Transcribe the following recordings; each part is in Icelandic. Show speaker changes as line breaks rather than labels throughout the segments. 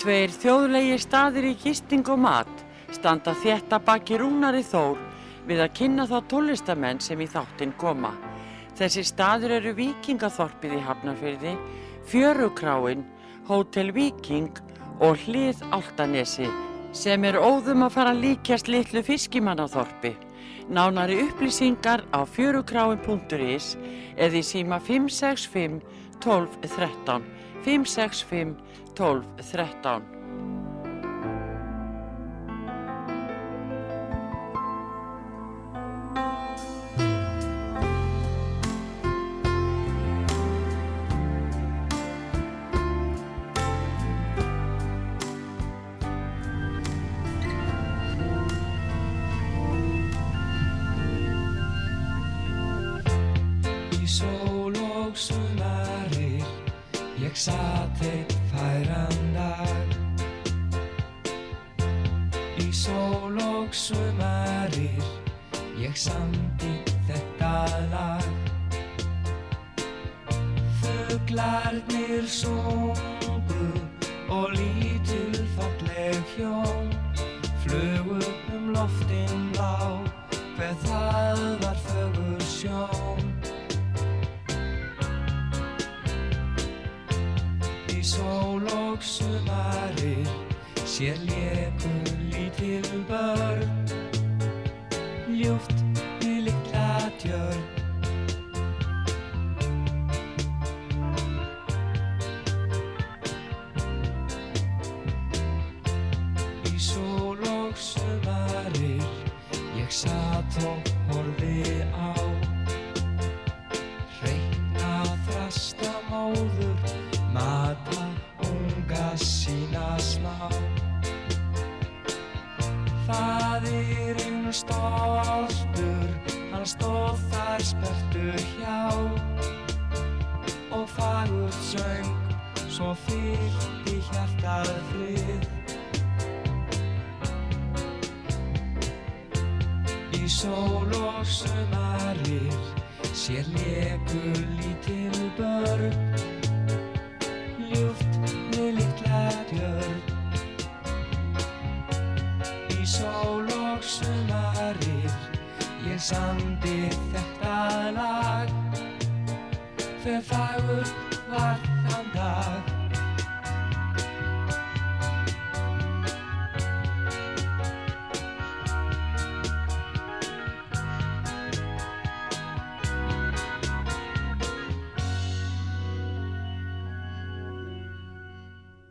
Tveir þjóðlegi staðir í gisting og mat standa þetta baki rúnari þór við að kynna þá tólistamenn sem í þáttinn koma. Þessi staður eru Víkingaþorpið í Hafnarfyrði, Fjörukráin, Hótel Víking og Hlið Altanesi sem er óðum að fara að líkjast litlu fiskimannaþorpi. Nánari upplýsingar á fjörukráin.is eða í síma 565 12 13 565 12 13
Í sól og sumarir ég satt eitt færan dag Í sól og sumarir ég samdi þetta lag Fuglarnir sungu og lítil falleg hjón flugu um loftin lág hver það var fögur sjón í sól og sumarir sér léku lítil börn ljúft við litla tjörn í sól og sumarir ég satt og horfi á reikna þrasta móður mata unga sína slá Fadirinn stoltur hann stóð þar sperrtur hjá og fagur söng svo fyllt í hjartað frið Í sól og sumarir sér lekur lítil börn ljúft við litla tjörn Í sól og sumarir ég samdi þetta lag hver fagur var þann dag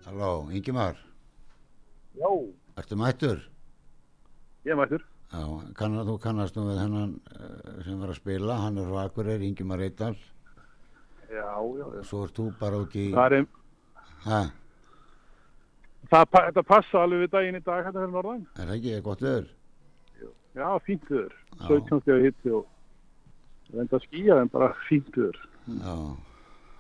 Halló, Ingimar,
Já,
ertu mættur?
ég er mættur.
Já, kannar, þú kannast nú við hennan eh, sem var að spila, hann er frá Akureyri, Ingimar Reitdal,
Já, já, já.
svo ert þú bara út í...
Það er,
Hæ,
það, pa- þetta passa alveg við daginn í dag hérna fyrir norðan.
er það ekki gott öður?
Já, fínt viður.
Já.
17 stegar hitti og reynda að skýja en bara fínt viður.
Já,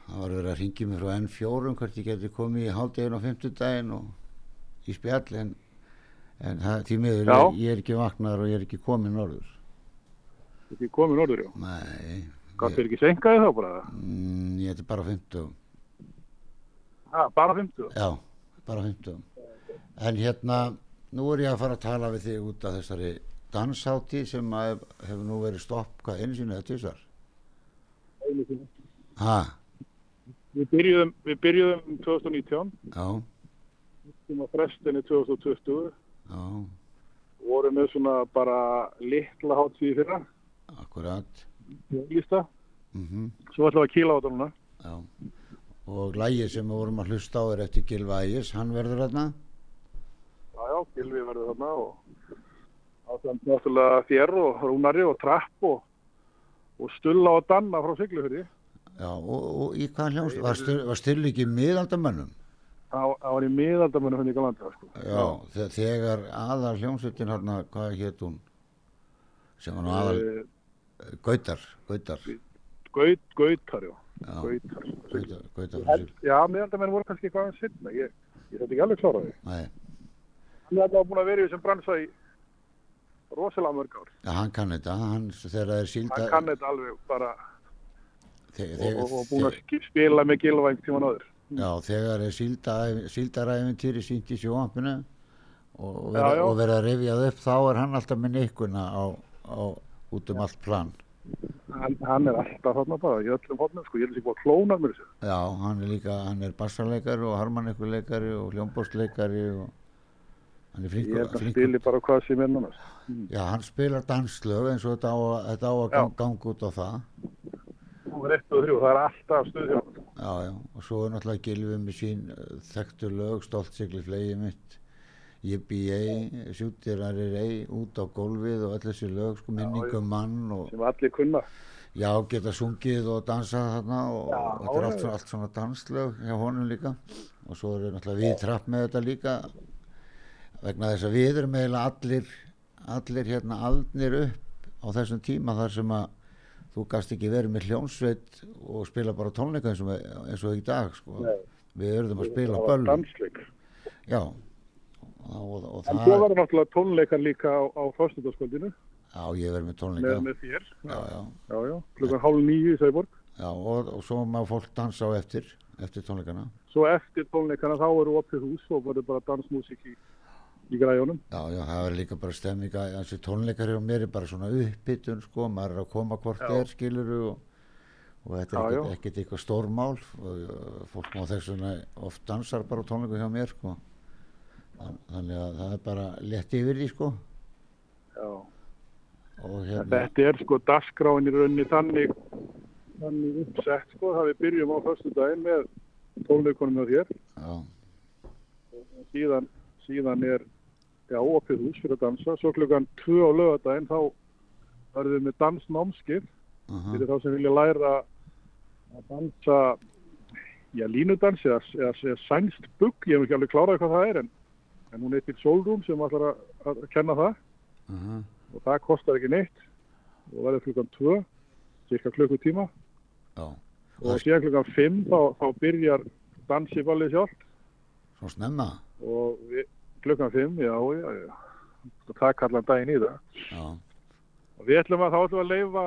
það var verið að ringja mig frá N4 um hvert ég geti komið í hálfdegin og fimmtudaginn og í spjall, en, en það, því miður,
Já.
ég, ég er ekki vaknar og ég er ekki komið norður.
Þetta er komið norður, já.
Nei,
Hvað fyrir ekki senkaði þá bara?
mm, ég heiti bara á fimmtugum.
Ha, bara 50?
Já, bara 15. En hérna, nú er ég að fara að tala við þig út af þessari danshátti sem að hef- hefur nú verið stopp, hvað, einu sinni eða tvisar?
Einu sinni.
Ha,
Við byrjuðum, við byrjuðum 2019,
já,
sem var frestinni 2020,
já,
vorum með svona bara litla hátíð í fyrra,
akkurat,
lísta.
mhm,
Svo ætlum við að kýla á þetta núna.
já. Og lægið sem við vorum að hlusta á er eftir Gilva Ægis, hann verður þarna?
Já, já, Gilvi verður þarna og ásamt náttúrulega þér og Rúnari og Trapp og, og Stulla og Danna frá Siglufjörði.
Já, og, og í hvað hljóms, var, styr, var styrli ekki miðaldamönnum?
Það það var í miðaldamennu henni í Galandi, sko.
Já, þe- þegar aðal hljómsveitin hérna, hvað hétt hún? Sem var nú aðal,
Eh,
Gautar, Gautar,
Gaut, Gautar, já.
já,
Gautar.
Gautar, Gautar,
En,
Gautar,
já, miðaldamennu voru kannski hvað hann sinna. Ég, ég þetta ekki alveg klára því.
nei.
Hann er alltaf búin að vera í þessum bransa í rosalega mörg ár.
Já, hann kann þetta, hann þegar það er sílda...
Hann kann þetta alveg bara
þegar,
og, og, og búin að sk- spila með Gilvæng tíman áður.
Já, þegar er síldaræ- síldarævintýri sínt í sjóampinu og, og
Já, já.
verið vera að rifjað upp þá er hann alltaf með nikkuna á, á, út um allt plan.
hann, hann er alltaf þarna bara í öllum hófnum sko, ég er þessi búið að klóna mér þessu
Já, hann er líka, hann er bassarleikari og harmanikuleikari og hljómbórsleikari og hann er
ég er
flinkur,
að
flinkur.
spili bara hvað sem er núna
Já, hann spilar danslög eins og þetta á, að- þetta á að
Já.
gang, ganga út á það.
þú er 1 og 3, það er alltaf stuð hjá honum.
Já, já, og svo er náttúrulega Gilvið með sín uh, þekktu lög, stolt sigli flegið mitt, ég bý ei, sjúttir að er ei, út á gólfið og öll þessi lög, sko, minningum mann og
sem allir kunna
já, geta sungið og dansað þarna og,
Já,
og þetta er allt,
já.
svona- allt svona danslög hjá honum líka og svo eru náttúrulega við trapp með þetta líka vegna þess að við erum eiginlega allir, allir hérna aldnir upp á þessum tíma þar sem að þú gast ekki verið með hljónsveit og spila bara tónleika eins og, eins og í dag sko.
Nei.
við erum að spila
Það var
böllum
dansleik
já og, og, og
en
það
svo var náttúrulega tónleikar líka á, á föstudagskvöldinu
já ég verið með tónleika
með, með þér
já, já,
já, já, klukkan hálf nýju í Sæborg
já, og, og svo má fólk dansa á eftir eftir tónleikana
svo eftir tónleikana þá eru opið hús og verður bara dansmúsík í, í græjónum
já, já, það er líka bara stemminga þessi tónleikar hjá mér er bara svona uppbytun sko, maður er að koma hvort
Já.
þér skiluru og, og þetta
Já,
er
já.
ekkert, ekkert eitthvað stórmál og, uh, fólk má þess vegna oft dansar bara á tónleiku hjá mér sko. Þann- þannig að það er bara létt yfir því sko
já.
og
En
hérna,
þetta er sko dagskráin í rauninni þannig þannig uppsett sko það við byrjum á föstudaginn með tónleikunum með þér
já,
síðan, síðan er já, opið hús fyrir að dansa svo klukkan 2 á lögadaginn þá verðum við með dansnámskip
aha,
fyrir þá sem vilja læra að dansa já, línudans eða, eða, eða sænst bugg, ég hef ekki alveg klárað hvað það er en, en hún heitir Solrúm sem ætlar að, að kenna það
aha,
og það kostar ekki neitt og verður klukkan 2 cirka klukkutíma
já
og síðan klukkan 5 þá, þá byrjar dansiballið sjálf
svona snemma
og við, klukkan 5, já, já, já og það kallan daginn í það
já,
og við ætlum að þá ætlum við að leifa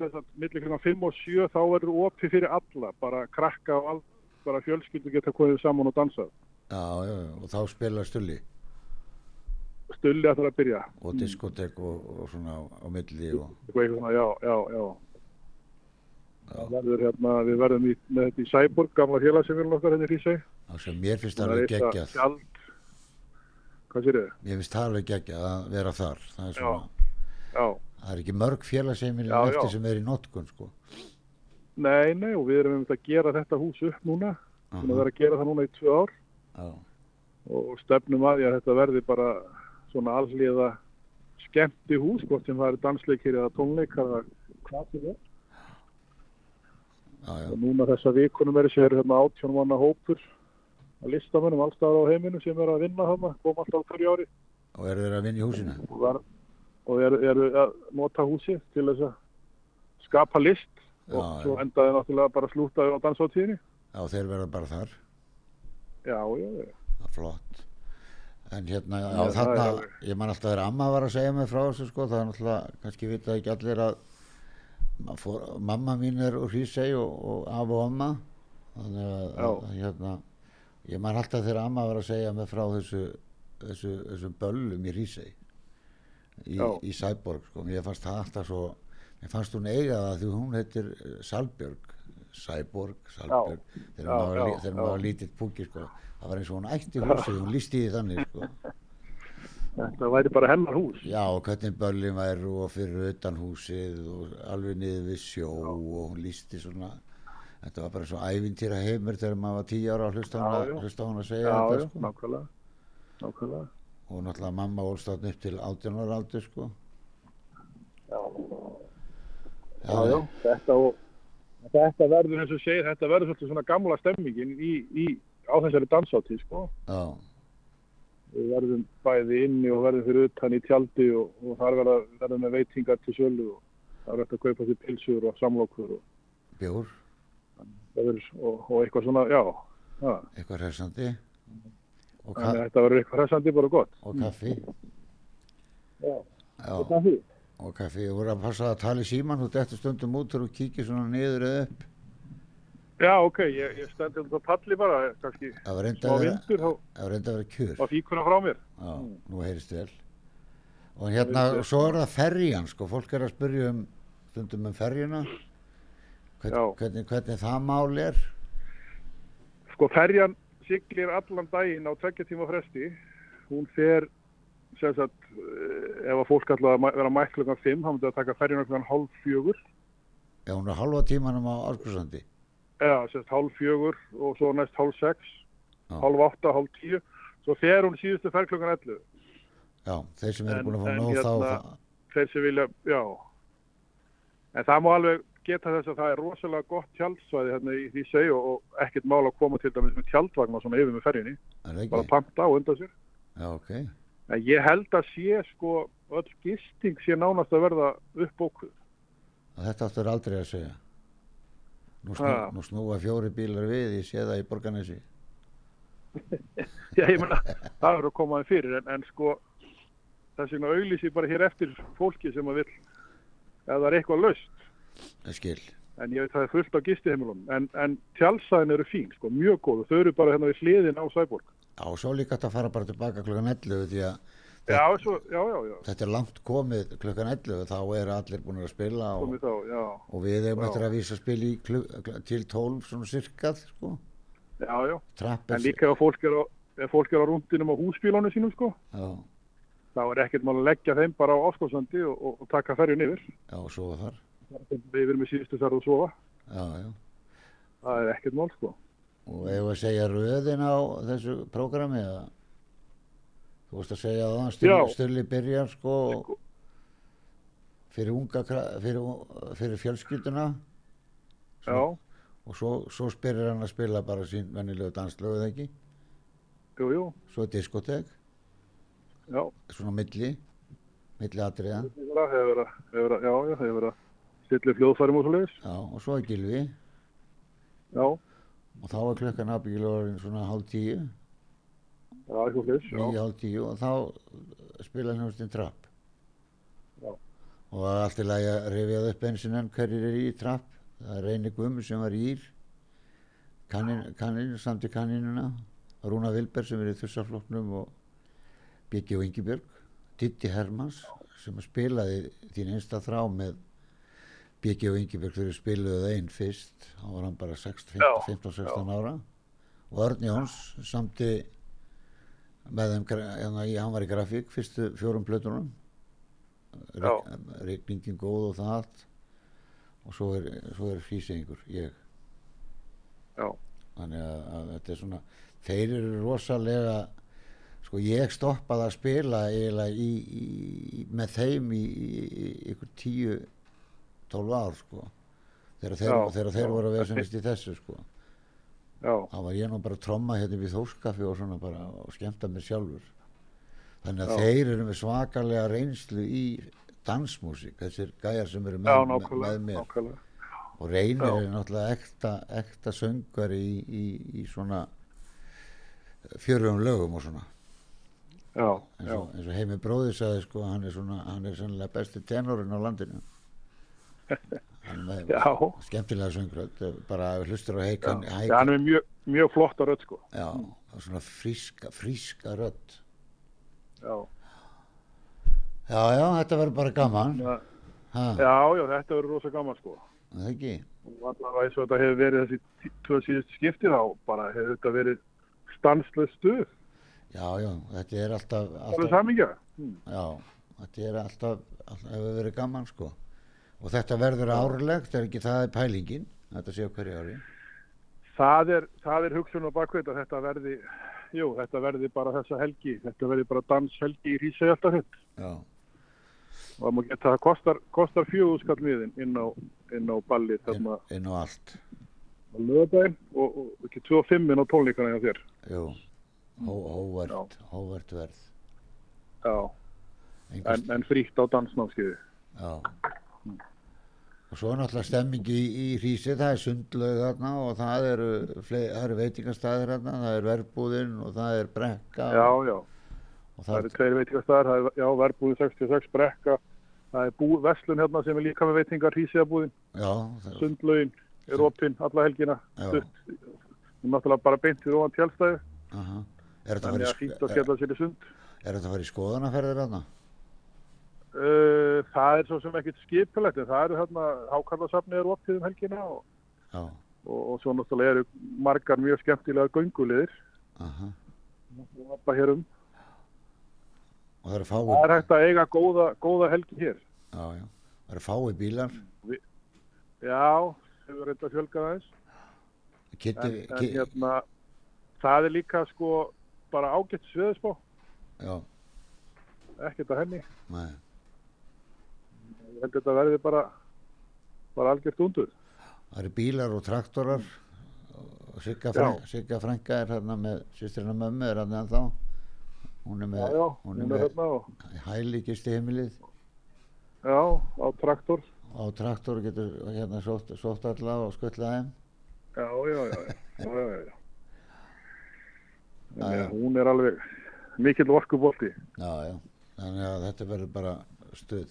sem sagt, millir klukkan 5 og 7 þá verður opið fyrir alla, bara krakka og all, bara fjölskyldu geta komið saman og dansað.
já, já, já, og þá spila stulli
Stulli ætlar að byrja,
og diskotek og, og svona á, á milli og,
eitthvað eitthvað svona, já, já, já.
Já.
Það Verður, hérna, við verðum í, með þetta í Sæborg, gamla félagsefélun okkar henni Rísei.
og sem mér finnst
Það er
alveg
eitt að
geggjað
sjald, hvað sér þið?
mér finnst það alveg geggjað að vera þar það er, svona,
Já,
það er ekki mörg félagseimilin
Já,
eftir
já.
sem er í notkun sko.
nei, nei, og við erum einmitt að gera þetta hús upp núna, við erum að vera að gera það núna í tvö ár
já,
og stefnum að því að þetta verði bara svona alliða skemmti hús, hvort sem það eru dansleikir eða tónleikar eða hvað sem er.
já, já,
Og núna þessa vikunum er þessi hérna átjón manna hópur að listamönnum allstaðar á heiminu sem er að vinna þarna, koma alltaf hverju ári
og eru þeir að vinna í húsinu
og, var, og eru er að nota húsi til þess að skapa list og
Já,
svo
já.
endaði náttúrulega bara að slúta á dansáttíðinni.
já, þeir verða bara þar
Já, já, já.
það er flott en hérna, já,
Já, það er
þarna,
alveg.
ég man alltaf þegar amma var að segja mig frá þessu sko, það er náttúrulega, kannski vita ekki allir að ma- fór, mamma mín er úr Hrísey og, og af og amma þannig að,
Já.
að hérna ég man alltaf þegar amma var að segja mig frá þessu, þessu, þessum böllum í Hrísey í,
Já.
í Sæborg sko, mér fannst það alltaf svo mér fannst hún eiga það því hún heitir eh, Salbjörg Sæborg, Salbjörg þegar
Já,
maður,
já,
já, þegar
já.
maður lítill púki sko. það var eins og hún ætti húsið hún lísti því þannig sko.
Þetta væri bara hennar hús.
já og hvernig börlin væru og fyrir utan húsið og alveg niður við sjó og hún lísti svona þetta var bara svo ævintýra heimur þegar maður var tíu ára að hlusta á
Já,
hún
já.
að, hlusta á hún að
Já,
segja
já,
þetta sko.
nákvæmlega. Nákvæmlega.
og náttúrulega mamma ólst þarna upp til 18 ára aldur sko. já,
já, já, þetta og þetta verður eins og segir, þetta verður svolítið svona gamla stemmingin í, í, á þessari dansátíð, sko.
já,
Við verðum bæði inni og verðum fyrir utan í tjaldi og, og þar verða, verðum með veitingar til sölu og það er hægt að kaupa sér pilsur og samlokur og,
bjór,
verður, og, og eitthvað svona, já. Ja.
eitthvað hressandi og, ka
Þannig að þetta verður eitthvað hressandi bara gott.
og kaffi
Já,
já
þetta er því.
og kaffi, þú voru að passa að tala í síman þú dettur stundum út þegar þú kíkir svona niður eða upp
Já, ok, ég, ég stendi um það palli bara, kannski
Það var reynda
smá
að vera,
vindur á,
það var reynda að vera kjur.
á fíkuna frá mér.
Já, nú heyrist vel. Og hérna,
Heyrist vel.
og svo er það ferjan, sko, fólk er að spyrja um, stundum um ferjuna,
Já.
hvernig, hvernig, hvernig það mál er.
Sko ferjan siglir allan daginn á tveggja tíma fresti. Hún fer, sem sagt, eh, ef að fólk ætlaði að mæ- vera mætt klukkan 5, þá myndi það taka ferjan klukkan hálf fjögur.
Já, hún er halva tímanum á Árkursandi.
Eða, sem sagt, hálf fjögur og svo næst hálf 6,
Já.
hálf 8, hálf 10. Svo fer hún síðustu ferð klukkan 11.
Já, þeir sem eru
En-
búin að fá
en
nóg þá,
hérna-
þá-
Þeir sem vilja, já. En það má alveg geta þess að það er rosalega gott tjaldsvæði hérna í því segi og, og ekkert mál að koma til dæmis með tjaldvagna svona yfir með ferjunni.
er það
Bara
ekki?
panta og undan sér.
Já, ok.
En ég held að sé sko öll gisting sé nánast að verða uppbókuð.
Og þetta áttur aldrei að segja. Nú, snú,
Ha.
nú snúa fjóri bílar við, ég sé það í Borganesi.
Já, ég meina, það verður að koma þeim fyrir en, en sko þess vegna auglýs ég bara hér eftir fólki sem að vil ef það er eitthvað laust.
Ég skil.
En ég veit það er fullt á gistiheimilum. En, en tjálsæðin eru fín, sko, mjög góð. Þau eru bara hérna við hliðin á Sæborg.
Já, og svo líka þetta að fara bara tilbaka klukkan 11 því að
Já, svo, já, já, já,
þetta er langt komið klukkan 11 þá eru allir búin að spila og,
komið þá, já.
og við eigum
Já.
eftir að vísa spil í kluk, kl- til 12 svona sirkað, sko.
Já, já. En
Trappes.
líka ef fólk er á, ef fólk er á rúndinum á húsbílónu sínum, sko,
Já,
þá er ekkert mál að leggja þeim bara á áskonsandi og, og, og taka ferjun yfir.
já, og svo þar.
Við erum með síðustu þar að sofa.
Já, já.
Það er ekkert mál sko.
Og eigum við að segja röðin á þessu prógrami eða? Þú veist að segja að hann
Já.
stulli, stulli byrjar, sko, og fyrir unga, kra- fyrir, u- fyrir fjölskylduna.
Já,
og svo, svo spyrir hann að spila bara sín vennilegu danslögu eða ekki
jú, jú,
svo er diskotek,
já.
svona milli milli atriða
Það hefur verið, að- hefur verið, að- já, já, hefur verið að stilla fljóðfærum og svo leiðis.
já, og svo er gilvi
Já,
og þá er klukkan afbyggilegurinn svona hálf tíu
já, eitthvað leiðis, já.
nýja hálf tíu og þá uh, spila hljómsdinn trapp
Já.
og það er allt í lagi að rifja það upp eins og enn hverjir er í trapp það er reyni gum sem var ír kannin, kannin samt í kanninuna Rúna Vilberg sem er í þussafloknum og Biggi og Ingibjörg Ditti Hermans sem spilaði þín einsta þrá með Biggi og Ingibjörg þegar þeir spiluðu það einn fyrst þá var hann bara 16, 15, 15 16 ára og Örn Jóns samti með þeim, gra- hérna, í- hann var í grafík fyrstu fjórum plötunum
Já.
regningin góð og það allt og svo er, svo er frísengur ég
Já.
þannig að, að þetta er svona þeir eru rosalega sko ég stoppaði að spila eiginlega í, í, í- með þeim í, í, í ykkur tíu 12 ár sko þegar þeir,
Já,
þegar þeir
já.
voru að vesenast í þessu sko
Já,
þá var ég nú bara að tromma hérna upp í þóskafi og svona bara og skemmta mér sjálfur þannig að
Já.
þeir eru með svakalega reynslu í dansmúsík þessir gæjar sem eru
já,
með, með,
nákvæmlega,
með mér
nákvæmlega.
og reynir
Já.
er náttúrulega ekta, ekta söngari í, í, í svona fjörugum lögum og svona
Já,
eins
já,
og, eins og heimi bróði sagði sko hann er svona, hann er sennilega besti tenorinn á landinu hann er með
já.
skemmtilega söngröð bara ef hlustur á heikan
Já, hann er með mjög, mjög flott að rödd sko.
já, og svona fríska, fríska rödd
Já,
já, já, þetta verður bara gaman
já,
ha,
já, já, þetta verður rosa gaman sko.
er það ekki
Og allavega eins og þetta hefur verið þessi tí- tvö síðustu skipti þá, bara hefur þetta verið stanslega stuð.
já, já, þetta er alltaf,
Það er
alltaf
samingja.
já, þetta er alltaf, alltaf hefur verið gaman sko og þetta verður árlegt er ekki það er pælingin þetta séu hverju ári
Það er, það er hugsun á bakveita, þetta verði, jú, þetta verði bara þessa helgi, þetta verði bara danshelgi í Rísau alltaf hitt
já,
og það má geta, það kostar, kostar fjögúskall miðin inn á, inn á balli
inn,
þarna á
inn og allt
löðdæn og, og ekki 25 inn á tónleikana hjá þér.
jú, hó, hóvert hóvert verð
Já,
Einhvers,
en, en frítt á dansnámskiði.
já og svo er náttúrulega stemming í, í hrísi það er sundlaug þarna og það eru, fle, það eru veitingastæðir þarna það er verbúðinn og það er brekka
Já, já,
og
það
það,
eru tveir veitingastæðar, það er, já, verbúðin 66 brekka, það er bú, Veslun hérna sem er líka með veitingar, Rísauabúðin,
já, það,
Sundlaugin, er opinn alla helgina
Já.
stutt, hún náttúrulega bara beint við ofan tjálstæðu
Aha. Er þetta að fara
þannig að
í,
fínt að
sk-
skella sér í sund
er þetta að fara í skoðanaferðir aðna?
uh, það er svo sem ekkert skipulegt en það eru hérna hákallasafni er opið um helgina og,
Já,
og, og svo náttúrulega eru margar mjög skemmtilega gönguliðir
aha.
og hoppa hér um
Og það eru
það
fáið,
er hægt að eiga góða, góða helgi hér
já, já. Það eru fáið bílar.
já, hefur reynda fjölgað aðeins
Kitty,
en, en
ki,
hérna það er líka sko bara ágætt sveðspá hérna-
já,
ekkert að henni
nei.
ég held að þetta verði bara bara algjört undur
Það eru bílar og traktorar. og Sigga, Frank, Sigga Franka er hérna með sýstrina mömmu, er hérna ennþá. Hún er
já,
með,
já,
hún er með
hérna og,
hæli heimilið
já, á traktor
á traktor og getur hérna sótt, sótt alla og skuttla þeim.
já, já, já, já, já, já, já.
Já, já.
Þannig að hún er alveg mikill orkubolti
Já, já. Þannig að þetta verður bara stuð.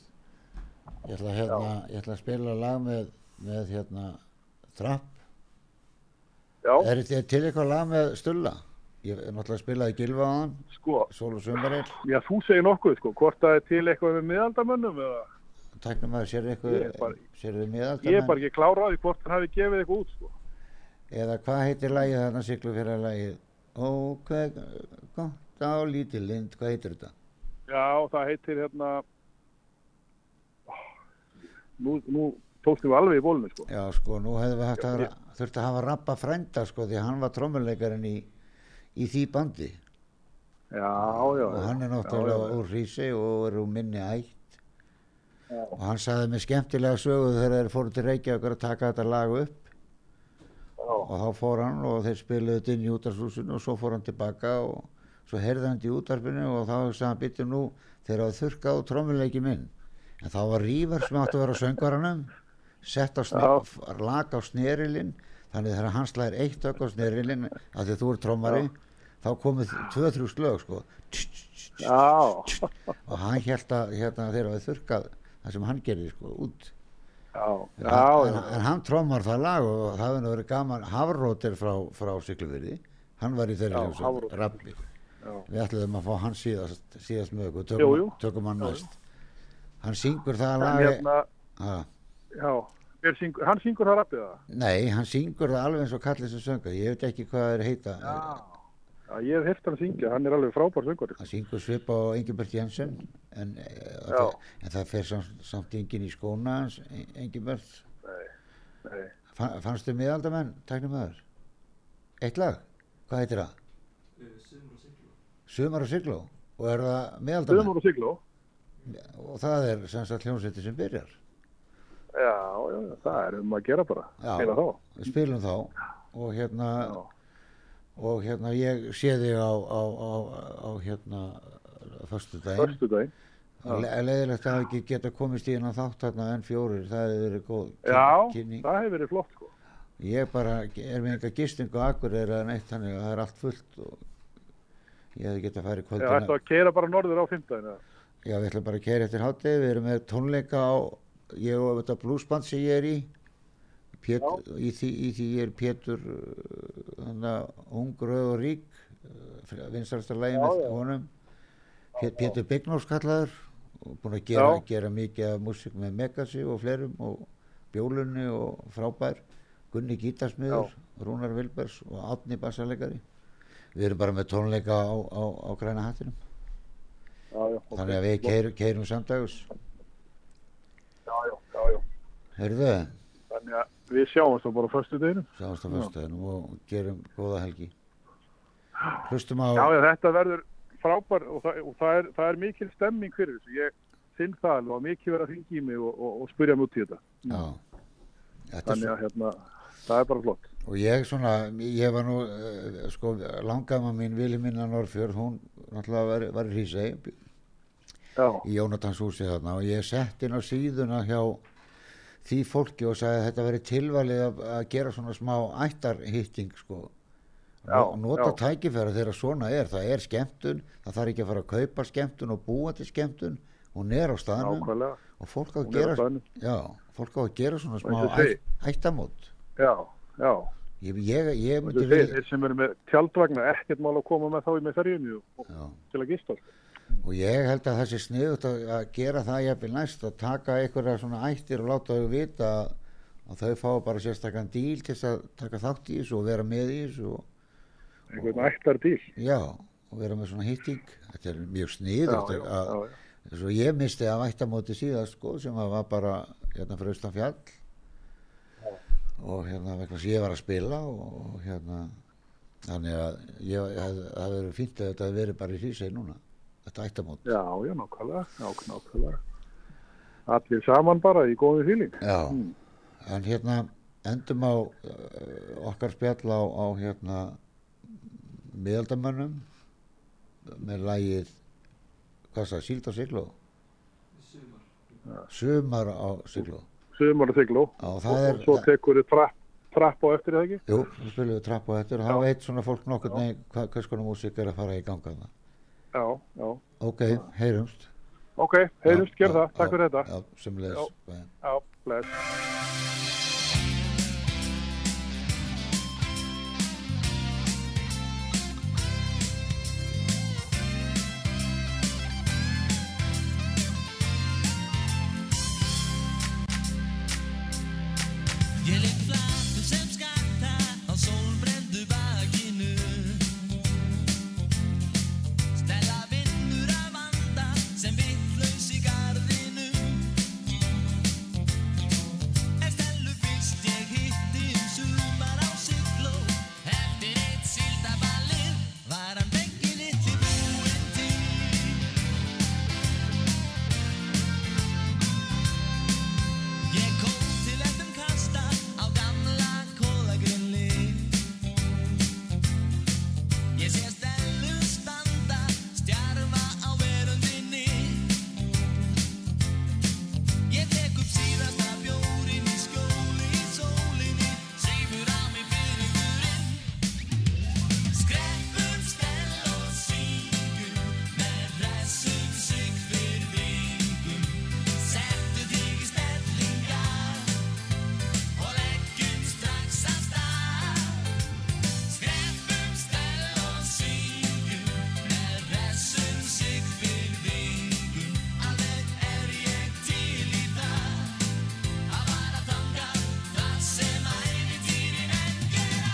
Ég ætla, að hérna, ég ætla að spila lag með, með hérna, Trapp.
já,
Er þetta til eitthvað lag með Stulla? Ég er náttúrulega að spilaði Gilva á hann,
sko,
Sól og Sumarill.
já, þú segir nokkuð sko, hvort það er til eitthvað með miðaldamönnum eða,
Tæknum að sér
Ég er
eitthvað, sér
bara-
þið
ég er bara
miðaldamenn.
ekki kláraði hvort hann hafi gefið eitthvað út sko
Eða hvað heitir lagið þarna siglu fyrir lagið? Ó, hvað, gott á lítið lind, hvað heitir þetta?
Já, það heitir hérna Ó, Nú, nú tókstum við alveg í bólunni sko.
Já, sko, nú hefðum við haft að, þurfti að hafa rappa frænda, sko, því að hann var trommuleikarinn í, í því bandi.
Já, já,
og
já.
hann er náttúrulega úr Hrísi og er úr minni ætt og hann sagði mér skemmtilega sögu þegar þeir fóru til Reykjavík að taka þetta lag upp og þá fór hann og þeir spiluðu þetta inn í útarshúsinu og svo fór hann tilbaka og svo heyrði hann þetta í útarpinu og þá sagði hann býttu nú þeir hafa þurkað á trommuleiki minn en þá var Rívar sem átti að vera á söngvaranum sett á
Já.
sne, lag á snerilinn þannig þegar hann slæðir eitt ökk á snerilinn af því að þú er trommari þá komið tvö-þrjú slög sko
Já,
og hann held að hérna, þeir hafa þurkað það sem hann gerði sko út
já,
en,
já,
en,
já.
en hann trómar það lag og það hefði nú verið gaman Hafróter frá, frá Siglufyrði hann var í þeirri
Já,
hljómsveit,
Hafróter.
rabbi
Já.
við ætluðum að fá hann síðast, síðast með okkur
Jú,
tökum,
jú.
tökum hann
Já,
næst hann syngur það
En
lag
hérna,
ha,
já, hver syngur, hann syngur það rappið það?
nei, hann syngur það alveg eins og kallið sem sönga ég veit ekki hvað það er heita
Já, ég hef hert hann syngja, hann er alveg frábær söngur.
hann syngur svipa á Engibert Jensen en, eh,
Já.
það, en það fer samt, samt engin í skóna hans Engibert
Nei,
Fa- Fannstu miðaldamenn, tæknum aður? Eitt lag? Hvað heitir það? Sumar og Sigló. Og er það miðaldamenn?
Dömur og Sigló.
Og það er sem sagt hljómsveiti sem byrjar.
Já, já, já, það er um að gera bara.
Já.
Heila þá.
Við spilum þá og hérna,
Já.
og hérna ég sé þig á, á, á, á hérna föstudaginn.
Förstu daginn.
og Le leðilegt að hafa ekki geta komist í hennan þátt hérna enn fjórir, það hefur verið góð kyn-
Já,
kynning.
það hefur verið flott sko.
Ég bara er með enga gistingu akkur er að neitt þannig að það er allt fullt og ég hefði getað að fara í
Já,
kvöldina.
ættu að keira bara norður á fimmtæðinu.
Já, við ætlum bara að kæra eftir hátegi, við erum með tónleika á, ég og þetta bluesband sem ég er í, Pét, í, því, í því ég er Pétur, uh, þannig að ung, rauð og rík, uh, vinstarsta lægi með
Já, já.
honum, Pét, Pétur Byggnós kallaður, og búinn að gera,
Já.
gera mikið af músík með Megasi og flerum og Bjólunni og frábær, Gunni Gítarsmiður, Rúnar Vilbergs og Átni Bassalegari. Við erum bara með tónleika á, á, á græna hattinum.
Já, já. ok.
Þannig að við keirum, keirum samdags.
Já, já, já, já.
Herðu,
Þannig að við sjáum það bara á förstu daginn.
sjáumst á fyrstaðinu og gerum góða helgi. Hlustum á,
Já, já, þetta verður frábær og, það, og það, er, það er mikil stemming fyrir þessu. Ég finn það alveg og mikið verður að hringi í mig og, og, og spyrja mig út í þetta.
já. Þetta er
Þannig
svo,
að hérna, það er bara flott.
og ég svona, ég var nú, uh, sko, langama mín, Vilhelmina Norrfjörð, hún náttúrulega var, var í Hrísei,
Já,
í Jónatans húsi þarna og ég sett inn á síðuna hjá því fólki og sagði að þetta veri tilvalið að, að gera svona smá ættarhitting, sko.
Já,
Nó- nota
já.
tækifæra þegar svona er það er skemmtun, það þarf ekki að fara að kaupa skemmtun og búa til skemmtun hún er á staðnum
nákvæmlega.
og fólk á að
Hún er á
gera
staðnum.
já, fólk á að gera svona smá
eins og
ætt, ættamót
já, já.
Ég, ég, ég
Þú
myndi
veist, þeir,
vilja,
þeir sem eru með tjaldvagna, ekkert mál að koma með þá í með ferjunni og,
já,
til að gista. sko.
og ég held að það sé sniðut að, að gera það jafnvel næst og taka einhverja svona ættir og láta þau vita að, að þau fá bara sérstakann díl til þess að taka þátt í þessu og vera með í þessu og,
Einhvern ættar bíl.
já, og vera með svona hitting þetta er mjög
Já,
sniðut
já, já, já.
svo ég misti að vættamóti síðast sko, sem að var bara hérna fyrir austan fjall og hérna vegna þess að ég var að spila og, og hérna þannig að ég ég hef- það hefði verið fínt að þetta hefði verið bara í hlýseg núna þetta ættamót
Já, já, nákvæmlega, nák- nákvæmlega. Allir saman bara í góðu fíling.
Já, en hérna endum á uh, okkar spjall á, á hérna miðaldamönnum með lagið hvað það, síld á sigló? Sumar á sigló
Sumar að sigló.
Já,
Og,
það
og
er,
svo tekur þið trapp, trapp á eftir er það ekki.
Jú, svo spilum við trapp og eftir og þá veit svona fólk nokkur neginn hva, hvers konar músík er að fara í ganga það.
Já, já.
Ok, heyrumst.
Ok, heyrðumst,
Já,
gerð það.
já,
Takk fyrir þetta.
Já, sem leðis.
Já, bless.
Ég ligg flatur sem skatta á sólbrendu bakinu Stella vinnur að vanda sem vittlaus í gardinu En Stellu fyrst ég hitti um sumar á sigló Eftir eitt síldaballið var hann vekki litli búinn til Ég kom til eftir kasta á gamla kólagrinni Ég sé stelu standa, stjarfa á verundinni Ég tek upp síðasta bjórin í skjóli í sólinni Seifur á mig fyrir hurinn Skreppum stel og síkum með hressum sig fyrir vingum Settu þig í stellingar og leggjum strax af stað Skreppum stel og síkum með hressum sig fyrir vingum Alveg er ég til í það að vara þanga það sem að einu týri enn gera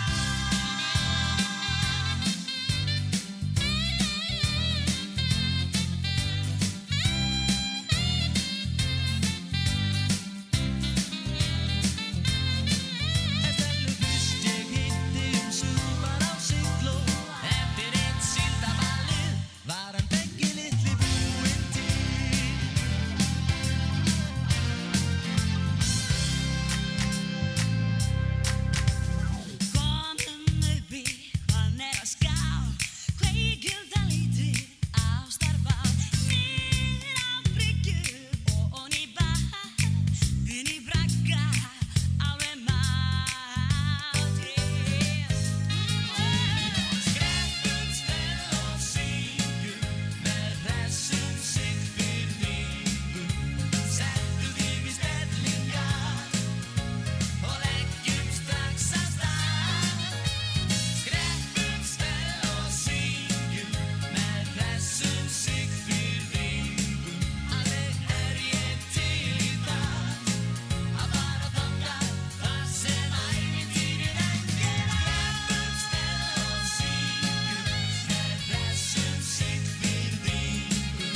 Estellu fyrst ég hitti um sumar á sigló Eftir eitt síldaballið var hann beggi litli búinn til Konum uppi, hann er að ská Kveikjum það lítið af starfa Niður á bryggju og onni bá Inn í bragga, alveg mát Skreppum stell og syngjum Með þessum sigfinningum Settu þig í stellingar og leggjum strax að stað. Skreppum stel og syngjum með hressum Siglfirðingum. Alveg er ég til í það að fara þangað þar sem ævintýrin endar. Skreppum stel og syngjum með hressum Siglfirðingum.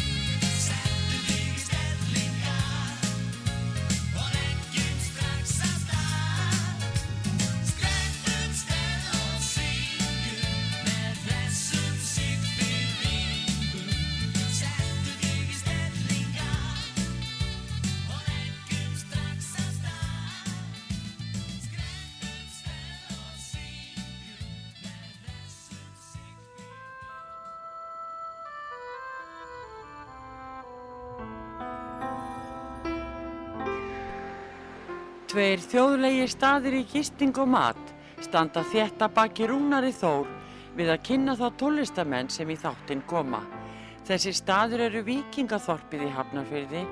Settu þig í stellingar og leggjum strax að stað. Skreppum stel og syngjum með hressum Siglfirðingum. Settu þig í stellingar og leggjum strax af stað. Skreppum stel og syngjum með hressum Siglfirðingum.
Tveir þjóðlegi staðir í gisting og mat standa þétt að baki Rúnari Þór við að kynna þá tólistamenn sem í þáttinn koma. Þessi staður eru Víkingaþorpið í Hafnarfyrði,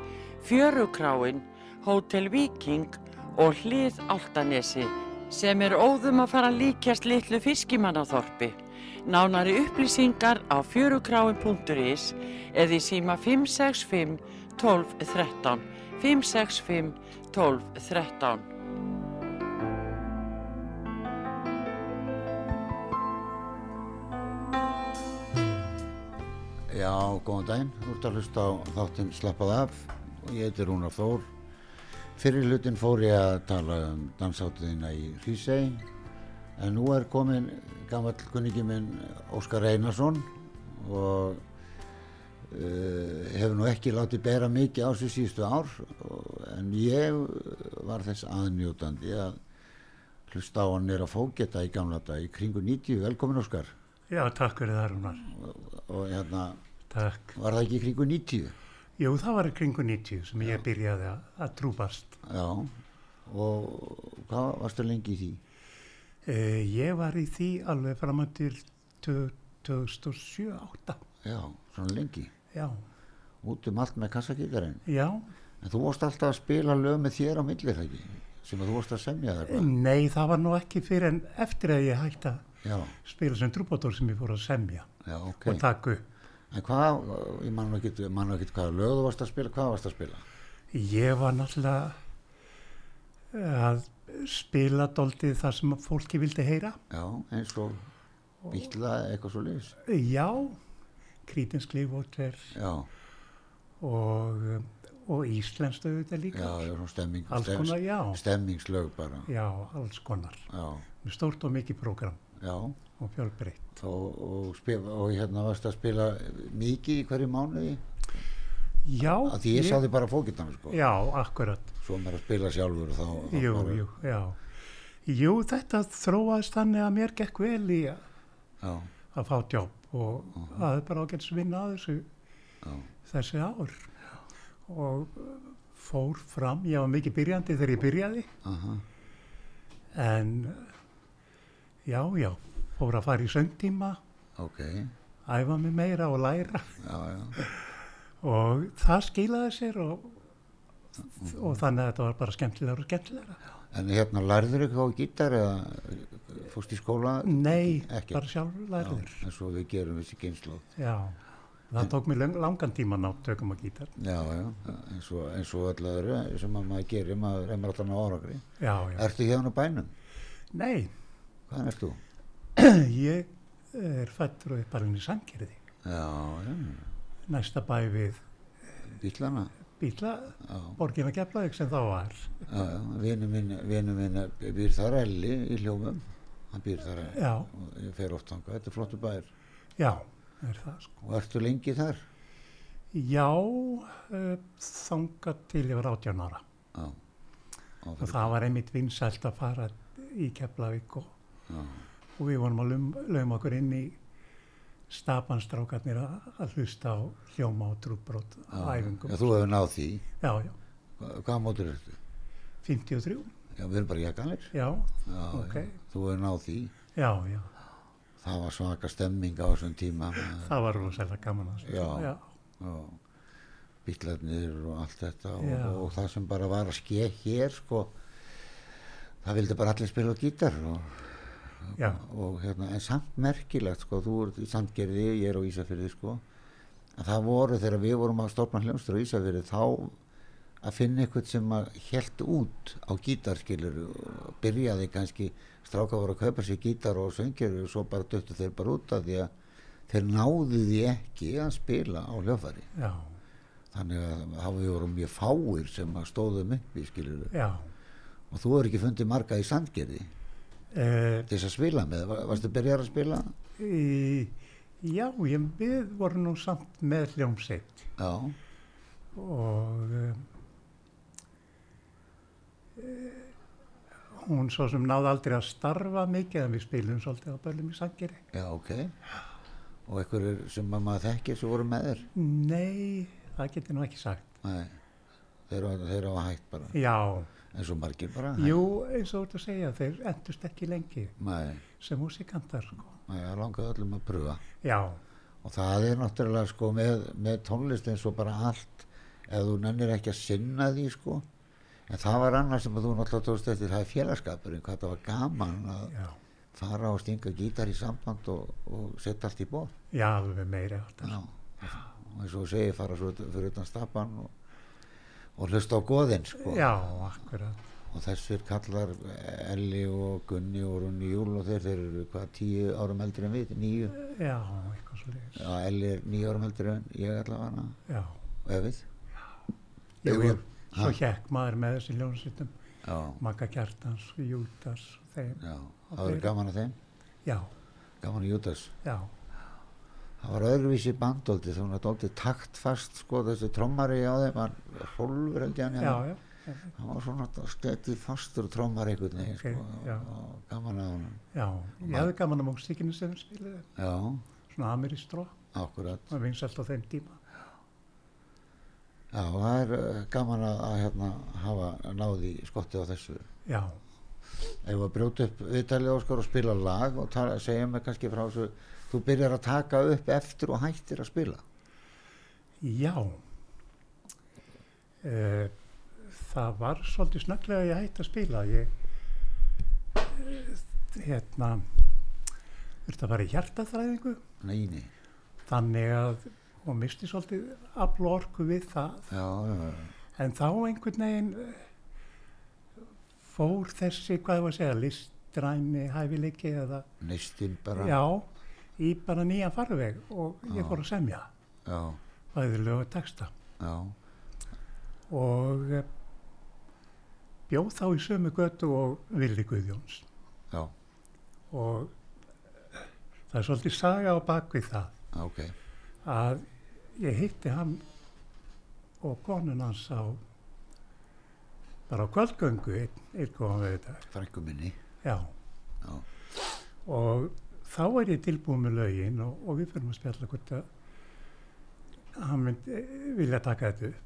Fjörukráin, Hótel Víking og Hlið Altanesi sem er óðum að fara að líkjast litlu fiskimannaþorpi. Nánari upplýsingar á fjörukráin.is eða í síma 565 12 13 565 12 13
Já, góðan daginn, þú ert að hlusta á þáttinn Slappað af og ég heiti Rúnar Þór. Fyrir hlutin fór ég að tala um dansáttiðina í Hrísei en nú er komin gammal kunningi minn Óskar Einarsson og uh, hefur nú ekki látið bera mikið á sér síðustu ár og, en ég var þess aðnjótandi að hlusta á hann er að fógeta í gamla dag í kringu 90, velkomin Óskar
Já, takk fyrir það Rúnar.
og hérna
Takk.
var það ekki í kringu 90
Jú, það var í kringu 90 sem ég byrjaði að, að trúbast.
Já, og hvað varstu lengi í því?
E, ég var í því alveg fram að til 2007-2008.
Já, svona lengi,
Já,
út um allt með kassakíkarinn.
já.
En þú vorst alltaf að spila lög með þér á milli það ekki, sem að þú vorst að semja þar bara.
Nei, það var nú ekki fyrir en eftir að ég hætti að
Já,
spila sem trúbátor sem ég fór að semja
já, ok.
og taka upp.
En hvað, ég man nú ekkit, man nú ekkit hvaða lög þú varst að spila, hvað varst að spila?
Ég var náttúrulega að spila doldið það sem að fólki vildi heyra.
Já, eins og býtla eitthvað svo liðs.
Já, krítinsklífótver
Já,
og, um, og íslenskt auðvitað
já,
líka.
já, svona stemming,
Alls
stem-
konar, já.
stemmingslög bara.
Já, alls konar.
Já,
Með stórt og mikið prógram
já,
og fjölbreytt.
og, og, spil, og hérna varst að spila mikið í hverju mánuði?
Já,
Að því ég, ég... sá þig bara fókitann, sko.
Já, akkurat.
svo maður að spila sjálfur og þá, þá
Jú,
bara,
jú, já. Jú, þetta þróaðist þannig að mér gekk vel í að
Já,
að fá jobb og
Mhm.
það er bara ágætt vinna að þessu þessi ár. Og uh, fór fram, ég var mikið byrjandi þegar ég byrjaði.
aha,
En uh, já, já, fór að fara í söngtíma,
ok já,
æfa mig meira og læra.
já,
og það skilaði sér og, og þannig að þetta var bara skemmtilegur og skemmtilegur
en hérna lærður eitthvað á gítar eða fórst í skóla
nei,
Ekki.
bara sjálfur lærður
já, en svo við gerum þessi kynnslóð
já. það tók mér lang, langan tíma að ná tökum á gítar
já, já, eins og, eins og öll öðru sem að maður gerir, maður er alltaf ná áragri
já, já,
Ertu hérna á bænum?
nei
Hvað ertu?
ég er fættur og uppalinn í Sankerði
Já, já,
næsta bæ við
bílana
bíla
Já,
borgin að geflaðið sem þá var
já, já, vinur minn, vinur minn býr þar elli í hljómum hann býr þar elli
já,
ég fer oft þangað, þetta er flottu bær
já, er það sko
og ertu lengi þar?
já, uh, þangað til ég var 18 ára
Já, Á
og
fyrir-
það var einmitt vinsælt að fara í Keflavík og, og við vorum að lum- lauma okkur inn í stapanstrákarnir að að hlusta á hljóma og trúbrót á æfingum.
Já, þú hefur náð því.
Já, já,
Hva, hvaða mótur ertu?
53,
Já, við erum bara jakkanir.
já,
Já,
ok,
já, þú hefur náð því.
já, já,
Það var svaka stemming á þessum tíma.
það var rosalega gaman að
Já.
já,
og bílarnir og allt þetta og,
Já.
og það sem bara var að ske hér, sko. Það vildi bara allir spila á gítar og,
já,
og hérna, en samt merkilegt, sko, þú ert í Sandgerði, ég er á Ísafyrði, sko. En það voru þegar við vorum að stofna hljómstur á Ísafyrði, þá að finna eitthvað sem að helt út á gítarskilur og byrjaði kannski stráka voru að kaupa sér gítar og söngjur og svo bara döttu þeir bara út af því að þeir náðu því ekki að spila á hljófari
já,
þannig að hafa við voru mjög fáir sem að stóðum upp í skilur
já.
og þú hefur ekki fundið marga í sandgerði
Uh,
til þess að spila með, Var- varstu byrjar að spila?
í, já, ég, við vorum nú samt með hljómsveit
Já,
og um, eh, hún svo sem náði aldrei að starfa mikið en við spilum svolítið á börlum í sangeri
já ok og einhverjur sem að maður þekkir sem voru með þér
Nei, það get ég nú ekki sagt
Nei, þeir hafa- þeir hafa hægt bara
Já,
eins og margir bara
jú, eins og þú ert að segja þeir endust ekki lengi
Nei,
sem músikantar sko.
nei, það langaði öllum að pröfa
Já,
og það er náttúrulega sko með, með tónlist eins og bara allt ef þú nennir ekki að sinna því sko en það var annars sem að þú náttúrulega tókst eftir það er félagskapurinn, hvað það var gaman að
já,
fara og stinga gítar í samband og, og setja allt í bóð
já, alveg meira alltaf.
Já, og eins og þú segir fara svo ut- fyrir utan stappan og, og hlusta á goðin sko.
Já, akkurat.
og þessir kallar Elli og Gunni og Rúni Júl og þeir, þeir eru hvað tíu árum eldri en við, níu
Já, eitthvað svo leiðis.
Já, Elli er níu árum eldri en ég allavega
Já.
og ef við
Jú,
Jú,
jú.
jú.
Svo
Ha.
hekk maður með þessi ljónsýttum,
Já,
Magga Kjartans, Jútas, þeim.
já, það verður gaman að þeim
Já,
gaman að Júdas
já,
það var öðruvísi bandoldi þá hún var dóldi taktfast sko þessi trommari á þeim var hólfur held ég hann
já, já.
hann var svona skettið fastur trommari einhvern veginn sko,
Ok, já.
og, og gaman að honum
Já, ég hefði gaman að músíkinu sem við spilaði,
Já,
svona Amiristro,
akkurat.
það vins allt á þeim tíma.
Já, það er uh, gaman að, að hérna, hafa náði skottið á þessu.
Já,
Ef að brjóta upp viðtalið Óskar og spila lag og tala, segja mig kannski frá þessu, þú byrjar að taka upp eftir og hættir að spila.
já. Uh, það var svolítið snögglega að ég hætti að spila. Ég, eh, hérna, þurfti að fara í hjartaþræðingu,
Neini.
þannig að, og misti svolítið aflu orku við það.
Já, já, já.
En þá einhvern veginn eh, fór þessi, hvað var að segja, listræni hæfileiki eða,
neistinn bara.
já, í bara nýja farveg og ég
Já.
fór að semja,
Já,
bæði lög og texta.
já,
Og eh, bjóð þá í sömu götu og Vili Guðjóns.
já,
Og eh, það er svolítið saga á bakvið það.
ok.
að ég hitti hann og konun hans á bara á kvöldgöngu einn ein góðan við þetta
Frænku minni.
já.
Já.
og þá er ég tilbúið með lögin og, og við fyrir að spjalla hvort að hann myndi eh, vilja taka þetta upp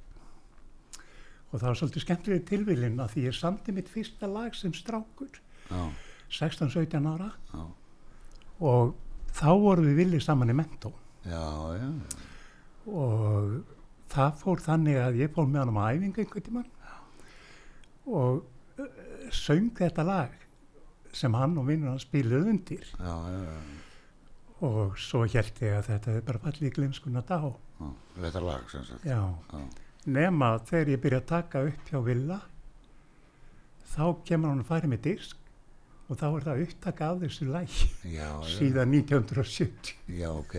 og það var svolítið skemmtileg tilvílin að því ég samti mitt fyrsta lag sem strákur
Já,
16-17 ára
já,
og þá vorum við villið saman í mentó
já, já,
og það fór þannig að ég fór með hann á æfingu einhvern tímann og uh, söng þetta lag sem hann og vinnur hann spiluð undir
já, já, já,
og svo held ég að þetta er bara fallið í glimskuna dá
já. Þetta lag sem sagt.
já,
Já.
nema að þegar ég byrja að taka upp hjá Villa þá kemur hann að færa með disk og þá er það upptaka af þessu læg
Já, já,
síðan 1970
já, ok.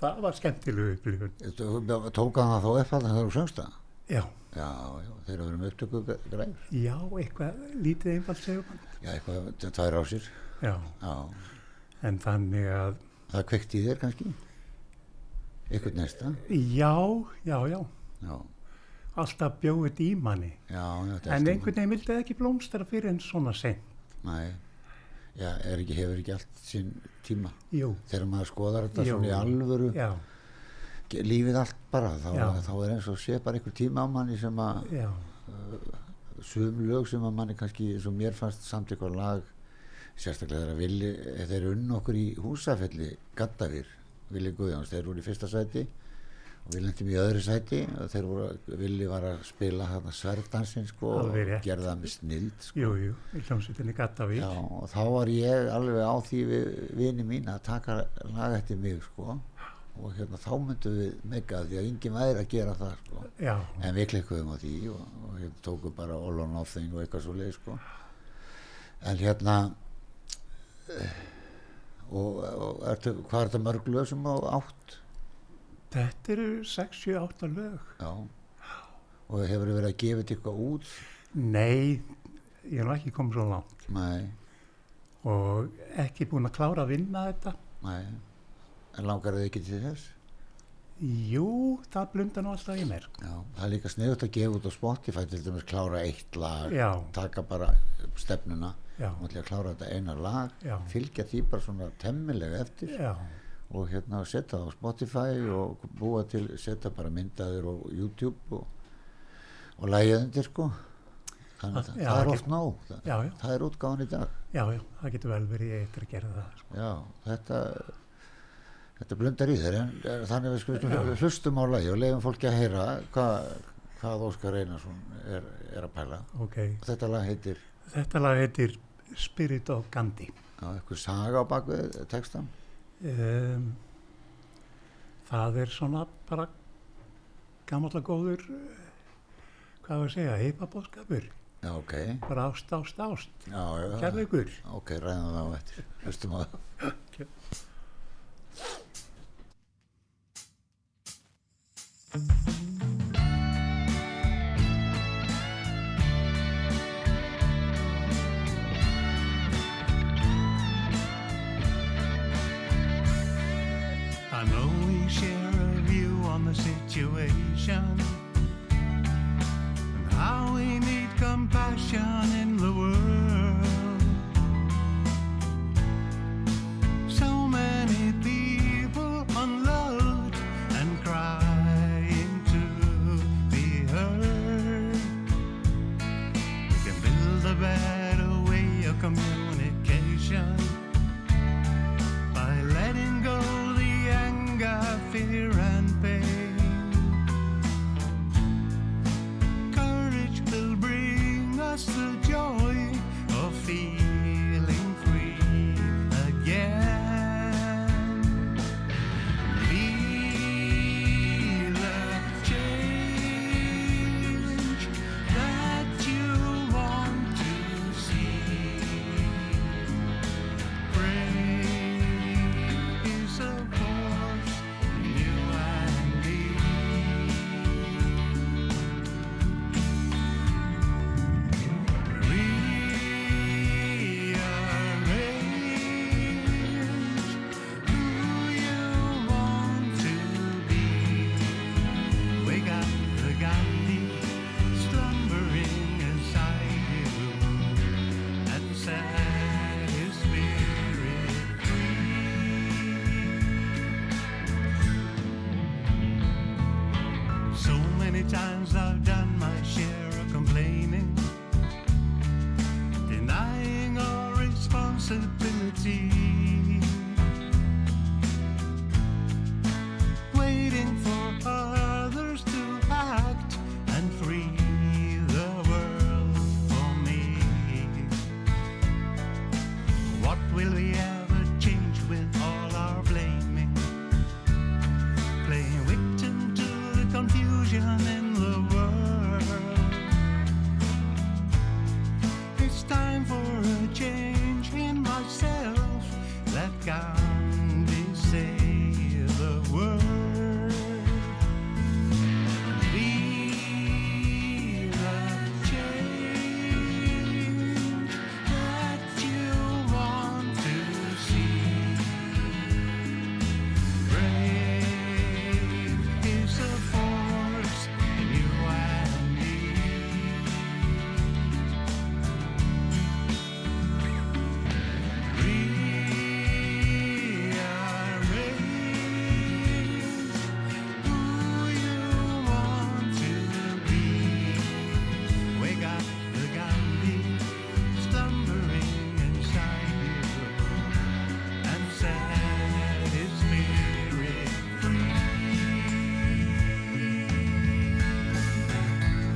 það var skemmtilegu upplifun
Þú- Tók hann það þá upp alltaf þegar þú söngst það?
já,
Já, já, þeir eru verið með upptöku græður.
já, eitthvað lítið einfalt segum hann
Já, eitthvað, t- tvær á sér.
já
Já,
En þannig að,
það kveikti í þér kannski. Ykkur næsta.
já, já, já,
Já,
alltaf bjóðið í manni.
já, þetta
En einhvern veginn vildi það ekki blómstara fyrir en svona sen.
Nei, já, er ekki, hefur ekki allt sinn tíma.
Jú,
Þegar maður skoðar þetta
Jú.
svona í alvöru,
já,
ge- lífið allt bara, þá,
Já.
þá er eins og sé bara einhver tíma á manni sem að,
já,
sum lög sem að manni kannski, eins og mér fannst samt eitthvað lag, sérstaklega þegar að villi, eh, þeir unn okkur í húsafelli, Gaddafir, Vili Guðjóns, þeir voru í fyrsta sæti og við lendum í öðru sæti og þeir voru, Vili var að spila hérna sverdansinn sko og
Alveg rétt.
gerða það með snild sko.
jú, jú, í hljómsveitinni Gattavíl.
Já, og þá var ég alveg á því við vini mín að taka lag eftir mig sko og hérna þá myndum við mega því að enginn væri að gera það sko
Já,
en við klikkuðum á því og, og hérna tókum bara all or nothing og eitthvað svo leið sko en hérna eh, og, og ertu, hvað er þetta mörg lög sem á átt
þetta eru 68 lög.
já og hefur verið að gefa þetta eitthvað út
Nei, ég er nú ekki komið svo langt
nei,
og ekki búin að klára að vinna þetta.
nei en langar þið ekki til þess
Jú, það blunda nú alltaf í mér.
já, það er líka sniðut að gefa út á Spotify til dæmis klára eitt lag
Já,
taka bara stefnuna
já,
og ætla að klára þetta eina lag
já,
fylgja því bara svona temmilega eftir
já,
og hérna setja það á Spotify og búa til, setja bara myndaður og YouTube og, og lægið undir sko þannig að
Það-
það,
já,
það er
ekki-
oft nóg það,
já, já,
það er útgáðan í dag
já, já, það getur vel verið ég eitthvað að gera það, sko.
já, þetta þetta blundar í þeir en eh, þannig að við skulum- við hlustum á lægi og leiðum fólki að heyra hvað hvað Óskar Einarsson er, er að pæla.
ok.
Þetta lag heitir,
Þetta lag heitir Spirit of Gandhi.
já, eitthvað saga á bakvið textan.
Um, það er svona bara gamalla góður, eh, hvað á að segja, heipabóðskapur.
Já, ok.
Bara ást, ást, ást.
Já, já.
Ah.
Kærleikur.
Ok, ræðum það á eftir. Hlustum á það.
I know we share a view on the situation and how we need compassion in the world. So many people unloved and crying to be heard. We can build a better way of communication by letting go the anger, fear, and pain. Courage will bring us the joy of feeling free again. Feel the change that you want to see. Praise a voice in you and me. Rearrange who you want to be. Wake up the Gandhi slumbering inside you and set his spirit free. So many times I've done my share of complaining, denying all responsibility. Waiting for others to act and free the world for me. What will we ever change with all our blaming? Playing victim to the confusion in the world. It's time for a change in myself that can be save the world. Be the change that you want to see. Brave is a force in you and me. Rearrange who you want to be. Wake up the Gandhi slumbering inside you and set his spirit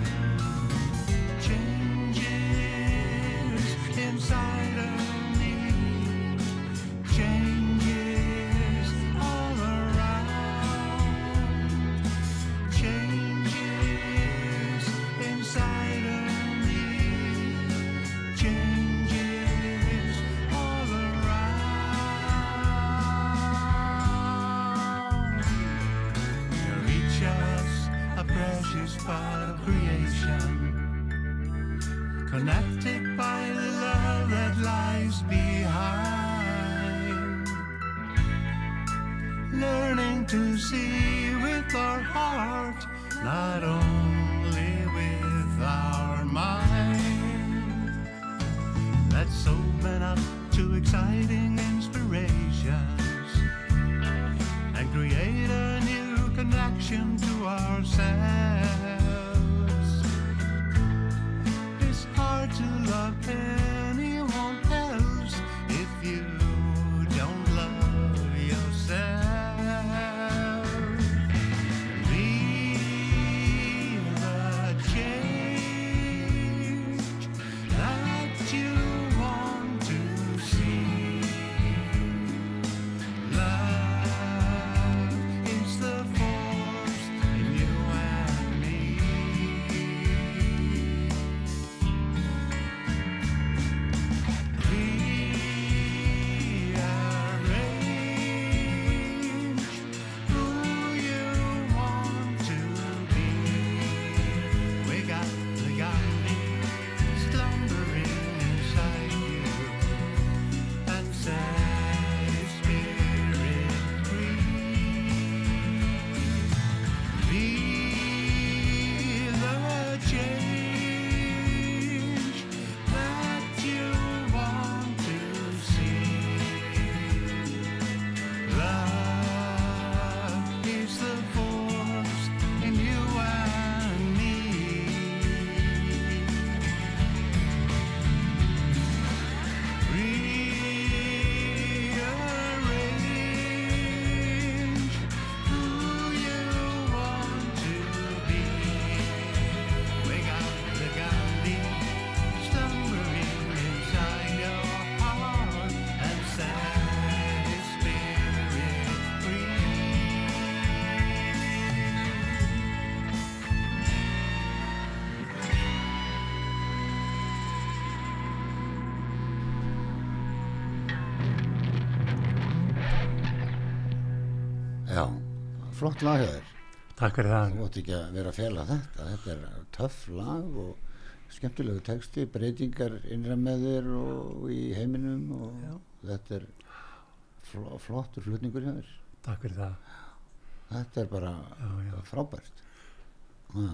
free. Changes inside of me, changes all around changes inside of me, changes all around. You reach us a precious part of creation, connected by the love that lies behind learning to see with our heart, not only with our mind. Let's open up to exciting inspirations and create a new connection to ourselves. It's hard to love anyone else if you don't love yourself. Be the
Já, flott lag hjá þér.
Takk fyrir það.
Þú átt ekki að vera að fela þetta. Þetta er töff lag og skemmtilegu texti, breytingar innra með þér og í heiminum og þetta er fl- flottur flutningur hjá þér.
Takk fyrir það.
Þetta er bara
Já, já.
frábært. Já.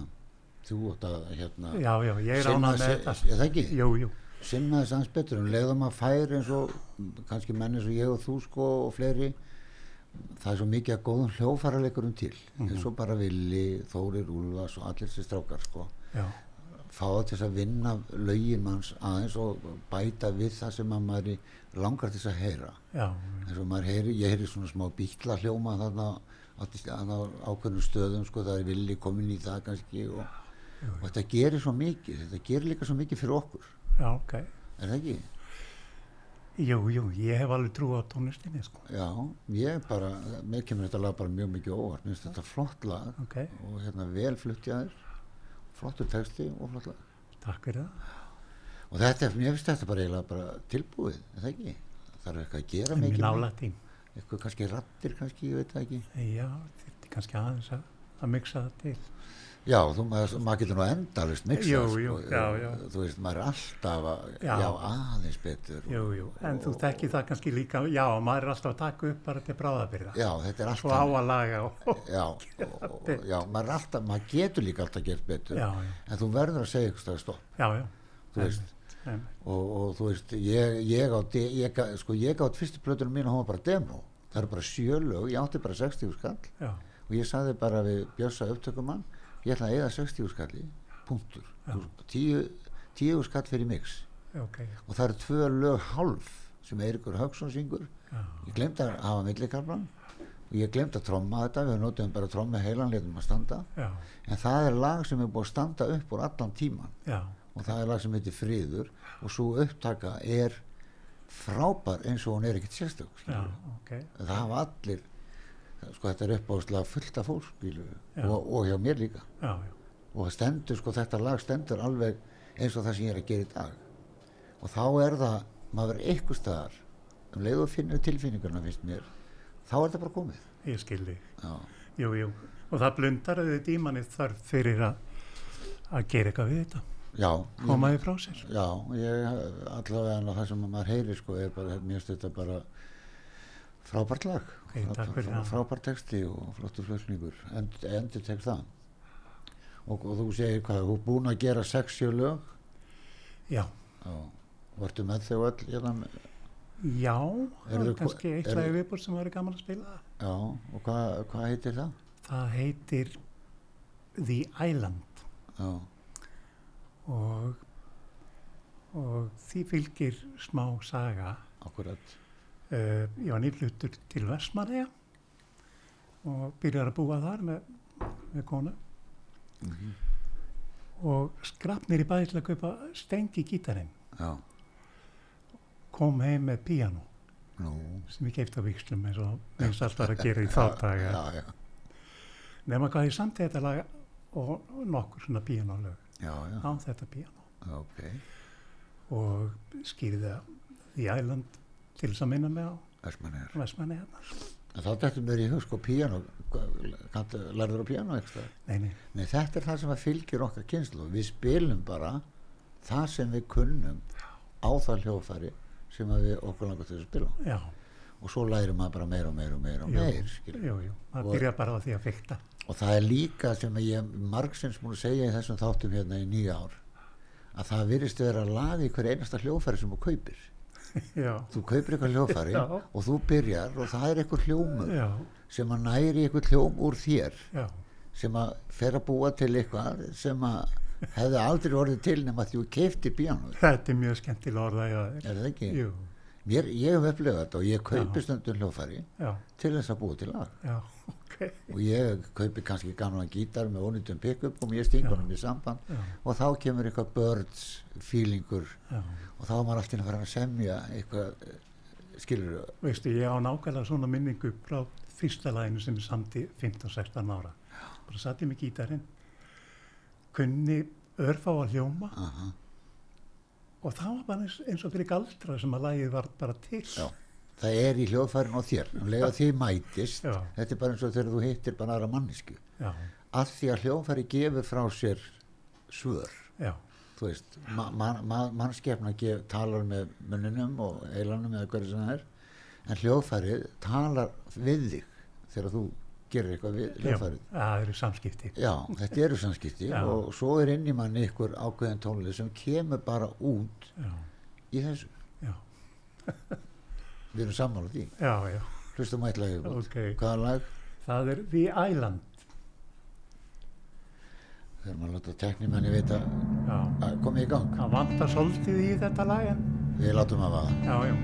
Þú átt að hérna
Já, já, ég er
Sinna
ánað með
þessi-
þetta.
er það ekki?
Jú, jú.
sinna þess aðeins betur en leiða maður fær eins og kannski menn eins og ég og þú sko og fleiri það er svo mikið að góðum hljófaraleikurum til
Mhm.
eins og bara Vili, Þórir, Úlfas og allir þessi strákar sko
Já,
fá það til þess að vinna lögin manns aðeins og bæta við það sem að maður í- langar til þess að heyra
já,
eins og maður heyri, ég heyri svona smá bíkla hljóma þarna á, þarna á ákveðnum stöðum sko, það er villi komin í það kannski og, og þetta gerir svo mikið þetta gerir líka svo mikið fyrir okkur
já, ok.
er það ekki?
Jú, jú, ég hef alveg trú á tónlistinni, sko.
Já, ég bara, mér kemur þetta lag bara mjög mikið á óvart, mér finnst þetta flott lag
Ok,
og hérna vel fluttjaðir, flottur texti og flott lag.
takk fyrir það.
Og þetta, er- mér finnst þetta bara eiginlega bara tilbúið, er það ekki? Það er eitthvað að gera
En mér
mikið,
nála tím.
eitthvað kannski rattir kannski, ég veit það ekki.
Já, þetta er kannski aðeins að, að miksa það til.
Já, þú, maður, maður getur nú endalist miksað,
Jú, jú, já, já.
þú veist, maður er alltaf að, já,
Já.
aðeins betur. og-
Jú, jú, en þú tekki það kannski líka, já, maður er alltaf að taka upp bara til bráðabyrða.
Já, þetta er alltaf.
Svo á að laga og...
já, og- og-
betur.
já, maður, er alltaf, maður getur líka alltaf gert betur,
Já, já.
en þú verður að segja eitthvað stopp,
Já, já.
þú veist.
En,
og, og þú veist ég, ég átt ég, gá- sko, ég átt fyrstu plötunum mín og hún var bara demo það eru bara sjölög, ég átti bara 60 skall
já,
og ég saði bara við Bjössa upptökumann ég ætla að eða 60 skalli, punktur Þú veist, 10 10 skall fyrir mix
já, ok,
og það eru tvö lög hálf sem Eirikur Högson syngur
já,
ég glemt að hafa millikarflan og ég glemt að tromma þetta við notum bara tromma heilan letum að standa
já,
en það er lag sem er búið að standa upp úr allan tíman
já,
og það er lag sem heitir Friður og svo upptaka er frábær eins og hún er ekkert sérstök
já,
skilurðu.
ok,
það hafa allir sko þetta er uppáðslega fullt af fólk skilurðu,
Já.
og, og hjá mér líka
já, já,
og það stendur sko þetta lag stendur alveg eins og það sem ég er að gera í dag og þá er það maður er eitthvað staðar um leið og finnir tilfinninguna finnst mér þá er það bara komið
ég skildi.
já,
Jú, jú, og það blundar auðvitað í manni þarf fyrir að, að gera eitthvað við þetta,
já ég-
koma því frá sér.
Já, ég allavega en það sem maður heyri sko er bara, mér finnst þetta bara frábært lag
Ok, takk fyrir það.
frábært texti og flottur flutningur End, endur tekst það og, og þú segir hvað, þú er búin að gera 60 lög
Já,
já, vartu með þau öll hérna, með-
já, það
Eru-
er kannski eitt
eru-
lagi viðbúr sem væri gaman að spila.
já, og hvað hva heitir það?
Það heitir The Island
Já,
og, og því fylgir smá saga.
akkurat
Uh, ég var nýflutur til Vestmannaja og byrjar að búa þar með, með konu
Mhm.
og skrapp nýr í bæði til að kaupa stengi gítarinn
já,
kom heim með píanó
nú
sem ég keipti á vikslum eins og eins allt var að gera í þá daga
já, já,
nema hvað ég samt þetta lag og nokkur svona píanólög
já, já,
á þetta píanó
ok
og skýrði það í æland til þess að minna mig á
Vestmannir.
Vestmannaja
En þá dættum mér í hug sko píano, lærður á píano eitthvað?
nei, nei,
Nei, þetta er það sem að fylgir okkar kynslu. Við spilum bara það sem við kunnum á það hljóðfæri sem að við okkur langar til að spila. á.
já,
Og svo lærir maður bara meira og meira og meira og
Jú.
meir, skilur.
jú, jú
Og-
maður byrja bara á því að fykta
Og það er líka sem að ég margsins múin að segja í þessum þáttum hérna í nýja ár að það virðist vera að laga í hverju einasta hljóðfæri sem þú kaupir.
já,
Þú kaupir eitthvað hljóðfæri
Já.
og þú byrjar og það er eitthvað hljómur
já,
sem að næri eitthvað hljóm úr þér
já
sem að fer að búa til eitthvað sem að hefði aldrei orðið til nema því að keifti bíanóð
þetta er mjög skemmtilega orðað hjá þér
er það ekki?
jú,
Mér, ég hef upplifað þetta og ég kaupi stundum hljófari
já,
til þess að búa til lag
já, ok
og ég kaupi kannski gamlan gítar með ónýttum pick-up og ég stingur honum í samband
Já.
og þá kemur eitthvað birds feelingur
já.
og þá er maður alltaf að fara að semja eitthvað eh, skilur
veistu, ég á nákvæmlega svona minningu frá fyrsta laginu sem ég samti 15-16 ára bara satt ég með gítarinn kunni örfá að hljóma
Aha.
og það var bara eins, eins og fyrir galdra sem að lagið var bara til
Já. það er í hljóðfærinu á þér um leið og því mætist
Já.
þetta er bara eins og þegar þú hittir bara aðra mannesku
já,
að því að hljóðfæri gefur frá sér svör
já,
þú veist, ma ma ma mannskefna gef, talar með munninum og eilanum eða hverju sem það er en hljóðfærið talar við þig þegar þú gerir eitthvað við
já,
hljóðfærið
það eru samskipti.
Já, þetta eru samskipti
Já.
og svo er inn í manni ykkur ákveðin tónlist sem kemur bara út
Já,
í þessu.
Já.
Við erum sammála því.
já, já,
Hlustum að eitthvað yfir.
ok.
Hvaða lag?
Það er The Island,
Þegar maður láta teknimenni vita
já.
að koma í gang.
Það vantar svolítið í þetta lag en,
Við látum að vaða.
já, já.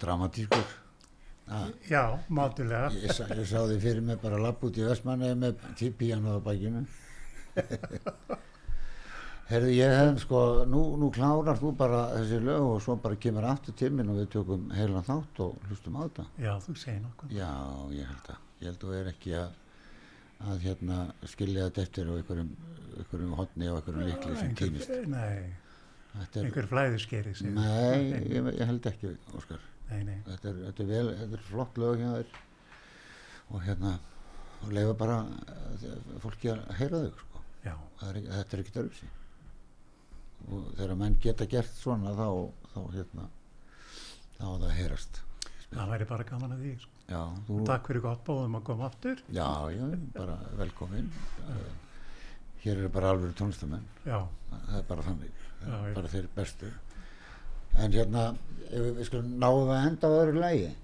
dramatískur
Já, mátulega.
ég, sá- ég sá því fyrir mig bara lapp út í Vestmannaði með típíjanóð á bakinu Herðu, ég hef sko, nú, nú klárar þú bara þessi lög og svo bara kemur aftur til minn og við tökum heilan þátt og hlustum á þetta.
Já, þú segir nokkuð.
Já, ég held að, ég held að þú er ekki að, að hérna skilja þetta eftir á einhverjum, einhverjum hotni og einhverjum líkli sem
Einhver-
týnist.
Nei,
Þetta er,
einhver flæðiskeri segir.
nei, ég, ég held ekki, Óskar.
Nei, nei.
Þetta er, þetta er vel, þetta er flott lög hjá þér og hérna, og leifa bara eh, fólki að heyra þau, sko.
Já,
Það er, ekki- þetta er ekkert öðruvísi og þegar menn geta gert svona þá, þá hérna þá á það að heyrast
það væri bara gaman að því. Sko.
já, þú,
Takk fyrir gott bóðum að koma aftur.
já, já, bara velkomin Eh, hér eru bara alveg tónlistamenn
Já,
það er bara þannig, Það
Já,
eru
já.
bara þeir bestu en hérna ef við, við skulum náum við að enda á öðru lægi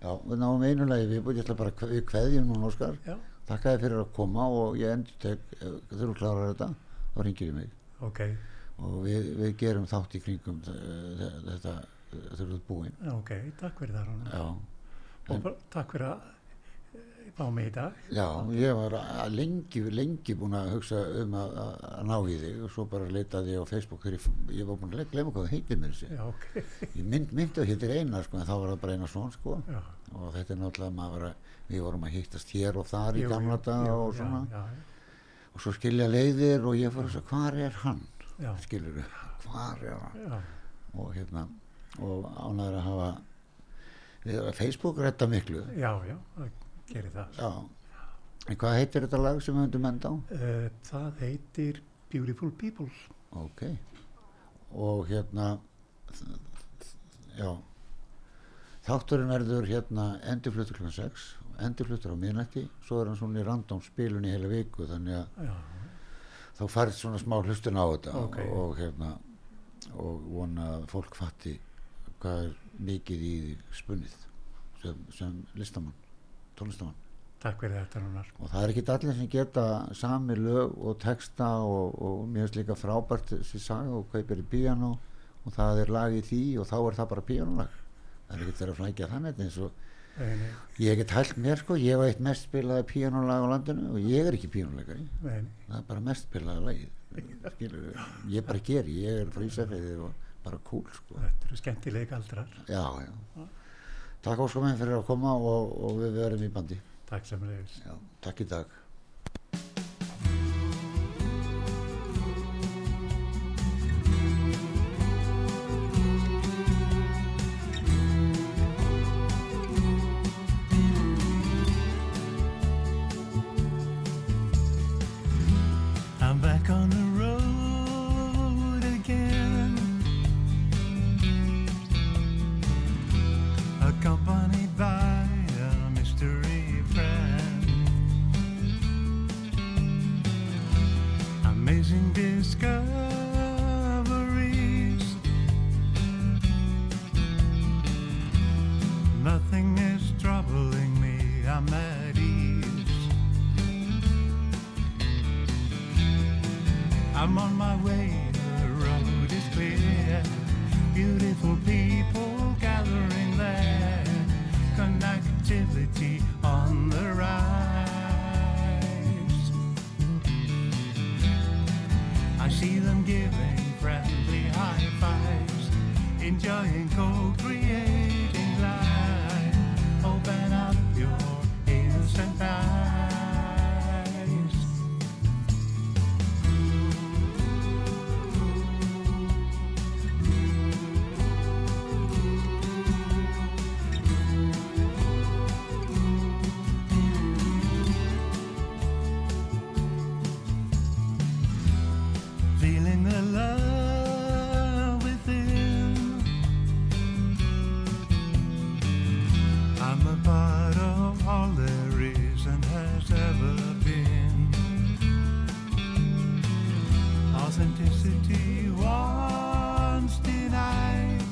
já, við náum einu lægi við, ég ætla bara, að kve- við kveðjum núna Óskar
já,
þakka þér fyrir að koma og ég endur tek, þurfum klárar þetta þá ringir ég mig
ok,
og við, við gerum þátt í kringum þe- þe- þetta þurfuð búin
ok, takk fyrir það Rónar.
já, Mm.
Og bara takk fyrir að eh, fá mig í dag.
já ég var a- lengi, lengi búin að hugsa um að, að- að ná í þig og svo bara leitaði ég á Facebook þegar ég, f- ég var búin að glemma hvað það heitir mér þessi
Já, ok,
ég mynd, myndi að heitir Einar sko en þá var það bara Einar Són sko
já.
og þetta er náttúrulega maður var að við vorum að hittast hér og þar í
Jú,
gamla
jú,
daga
jú,
og
já,
svona
Já,
og svo skilja leiðir og ég fór að segja hvar er hann
já,
skilur við, hvar er hann
já,
og hérna og ánæður að hafa við Facebook retta miklu
já, já, það gerir það.
já en hvað heitir þetta lag sem við höndum enda á
Uh, það heitir Beautiful People.
ok og hérna já þátturinn verður hérna endurfluttur kl. 6 endurfluttur á miðnætti svo er hann svona í random spilun í heila viku þannig að
Já,
þá færð svona smá hlustun á þetta
Ok.
og hérna og vona að fólk fatti hvað er mikið í því spunnið sem, sem listamann tónlistamann
takk fyrir þetta Rónar.
og það er ekki allir sem geta sami lög og texta og, og mér finnst líka frábært þessi saga og kaupir í píano og það er lag í því og þá er það bara píanolag það er ekki þeirra að flækja þannig þetta eins og
Nei, nei,
ég get hælt mér sko, ég var eitt mest spilaði píanolag á landinu og ég er ekki píanolegari
nei, nei.
það er bara mest spilaði lagið skilur, ég bara geri, ég er frá Ísafriði og bara cool sko
þetta eru skemmtilega galdrar.
já, já takk óskuminn fyrir að koma og, og við verðum í bandi
Takk sem leiðis.
já, takk í dag
I'm back on the road again. Accompanied by a mystery friend. Amazing discoveries. Nothing is troubling me. I'm at ease. I'm on my way, the road is clear. Beautiful people gathering there. Connectivity on the rise. I see them giving friendly high fives, enjoying co-creating life. Open up your innocent eyes. feeling the love within. I'm a part of all there is and has ever been. Authenticity once denied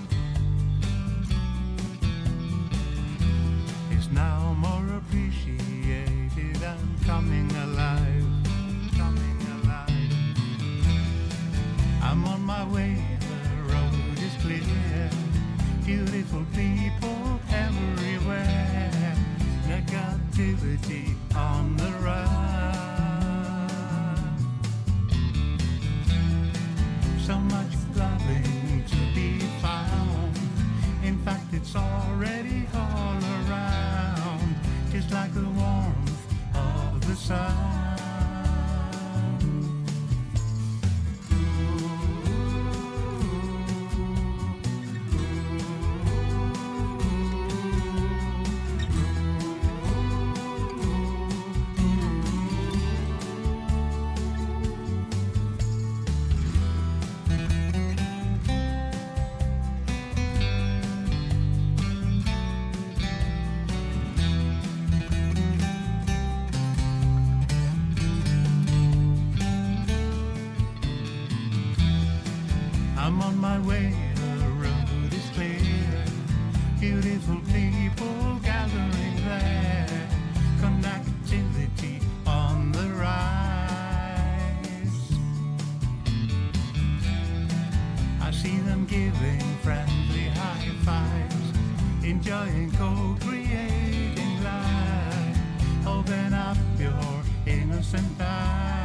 is now more appreciated and coming alive. Coming alive. I'm on my way, the road is clear. Beautiful people everywhere. Negativity on the rise. So much loving to be found. In fact, it's already all around. Just like the warmth of the sun. I'm on my way, the road is clear. Beautiful people gathering there. Connectivity on the rise. I see them giving friendly high fives, enjoying co-creating life. Open up your innocent eyes.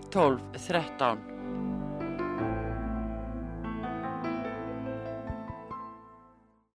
12 13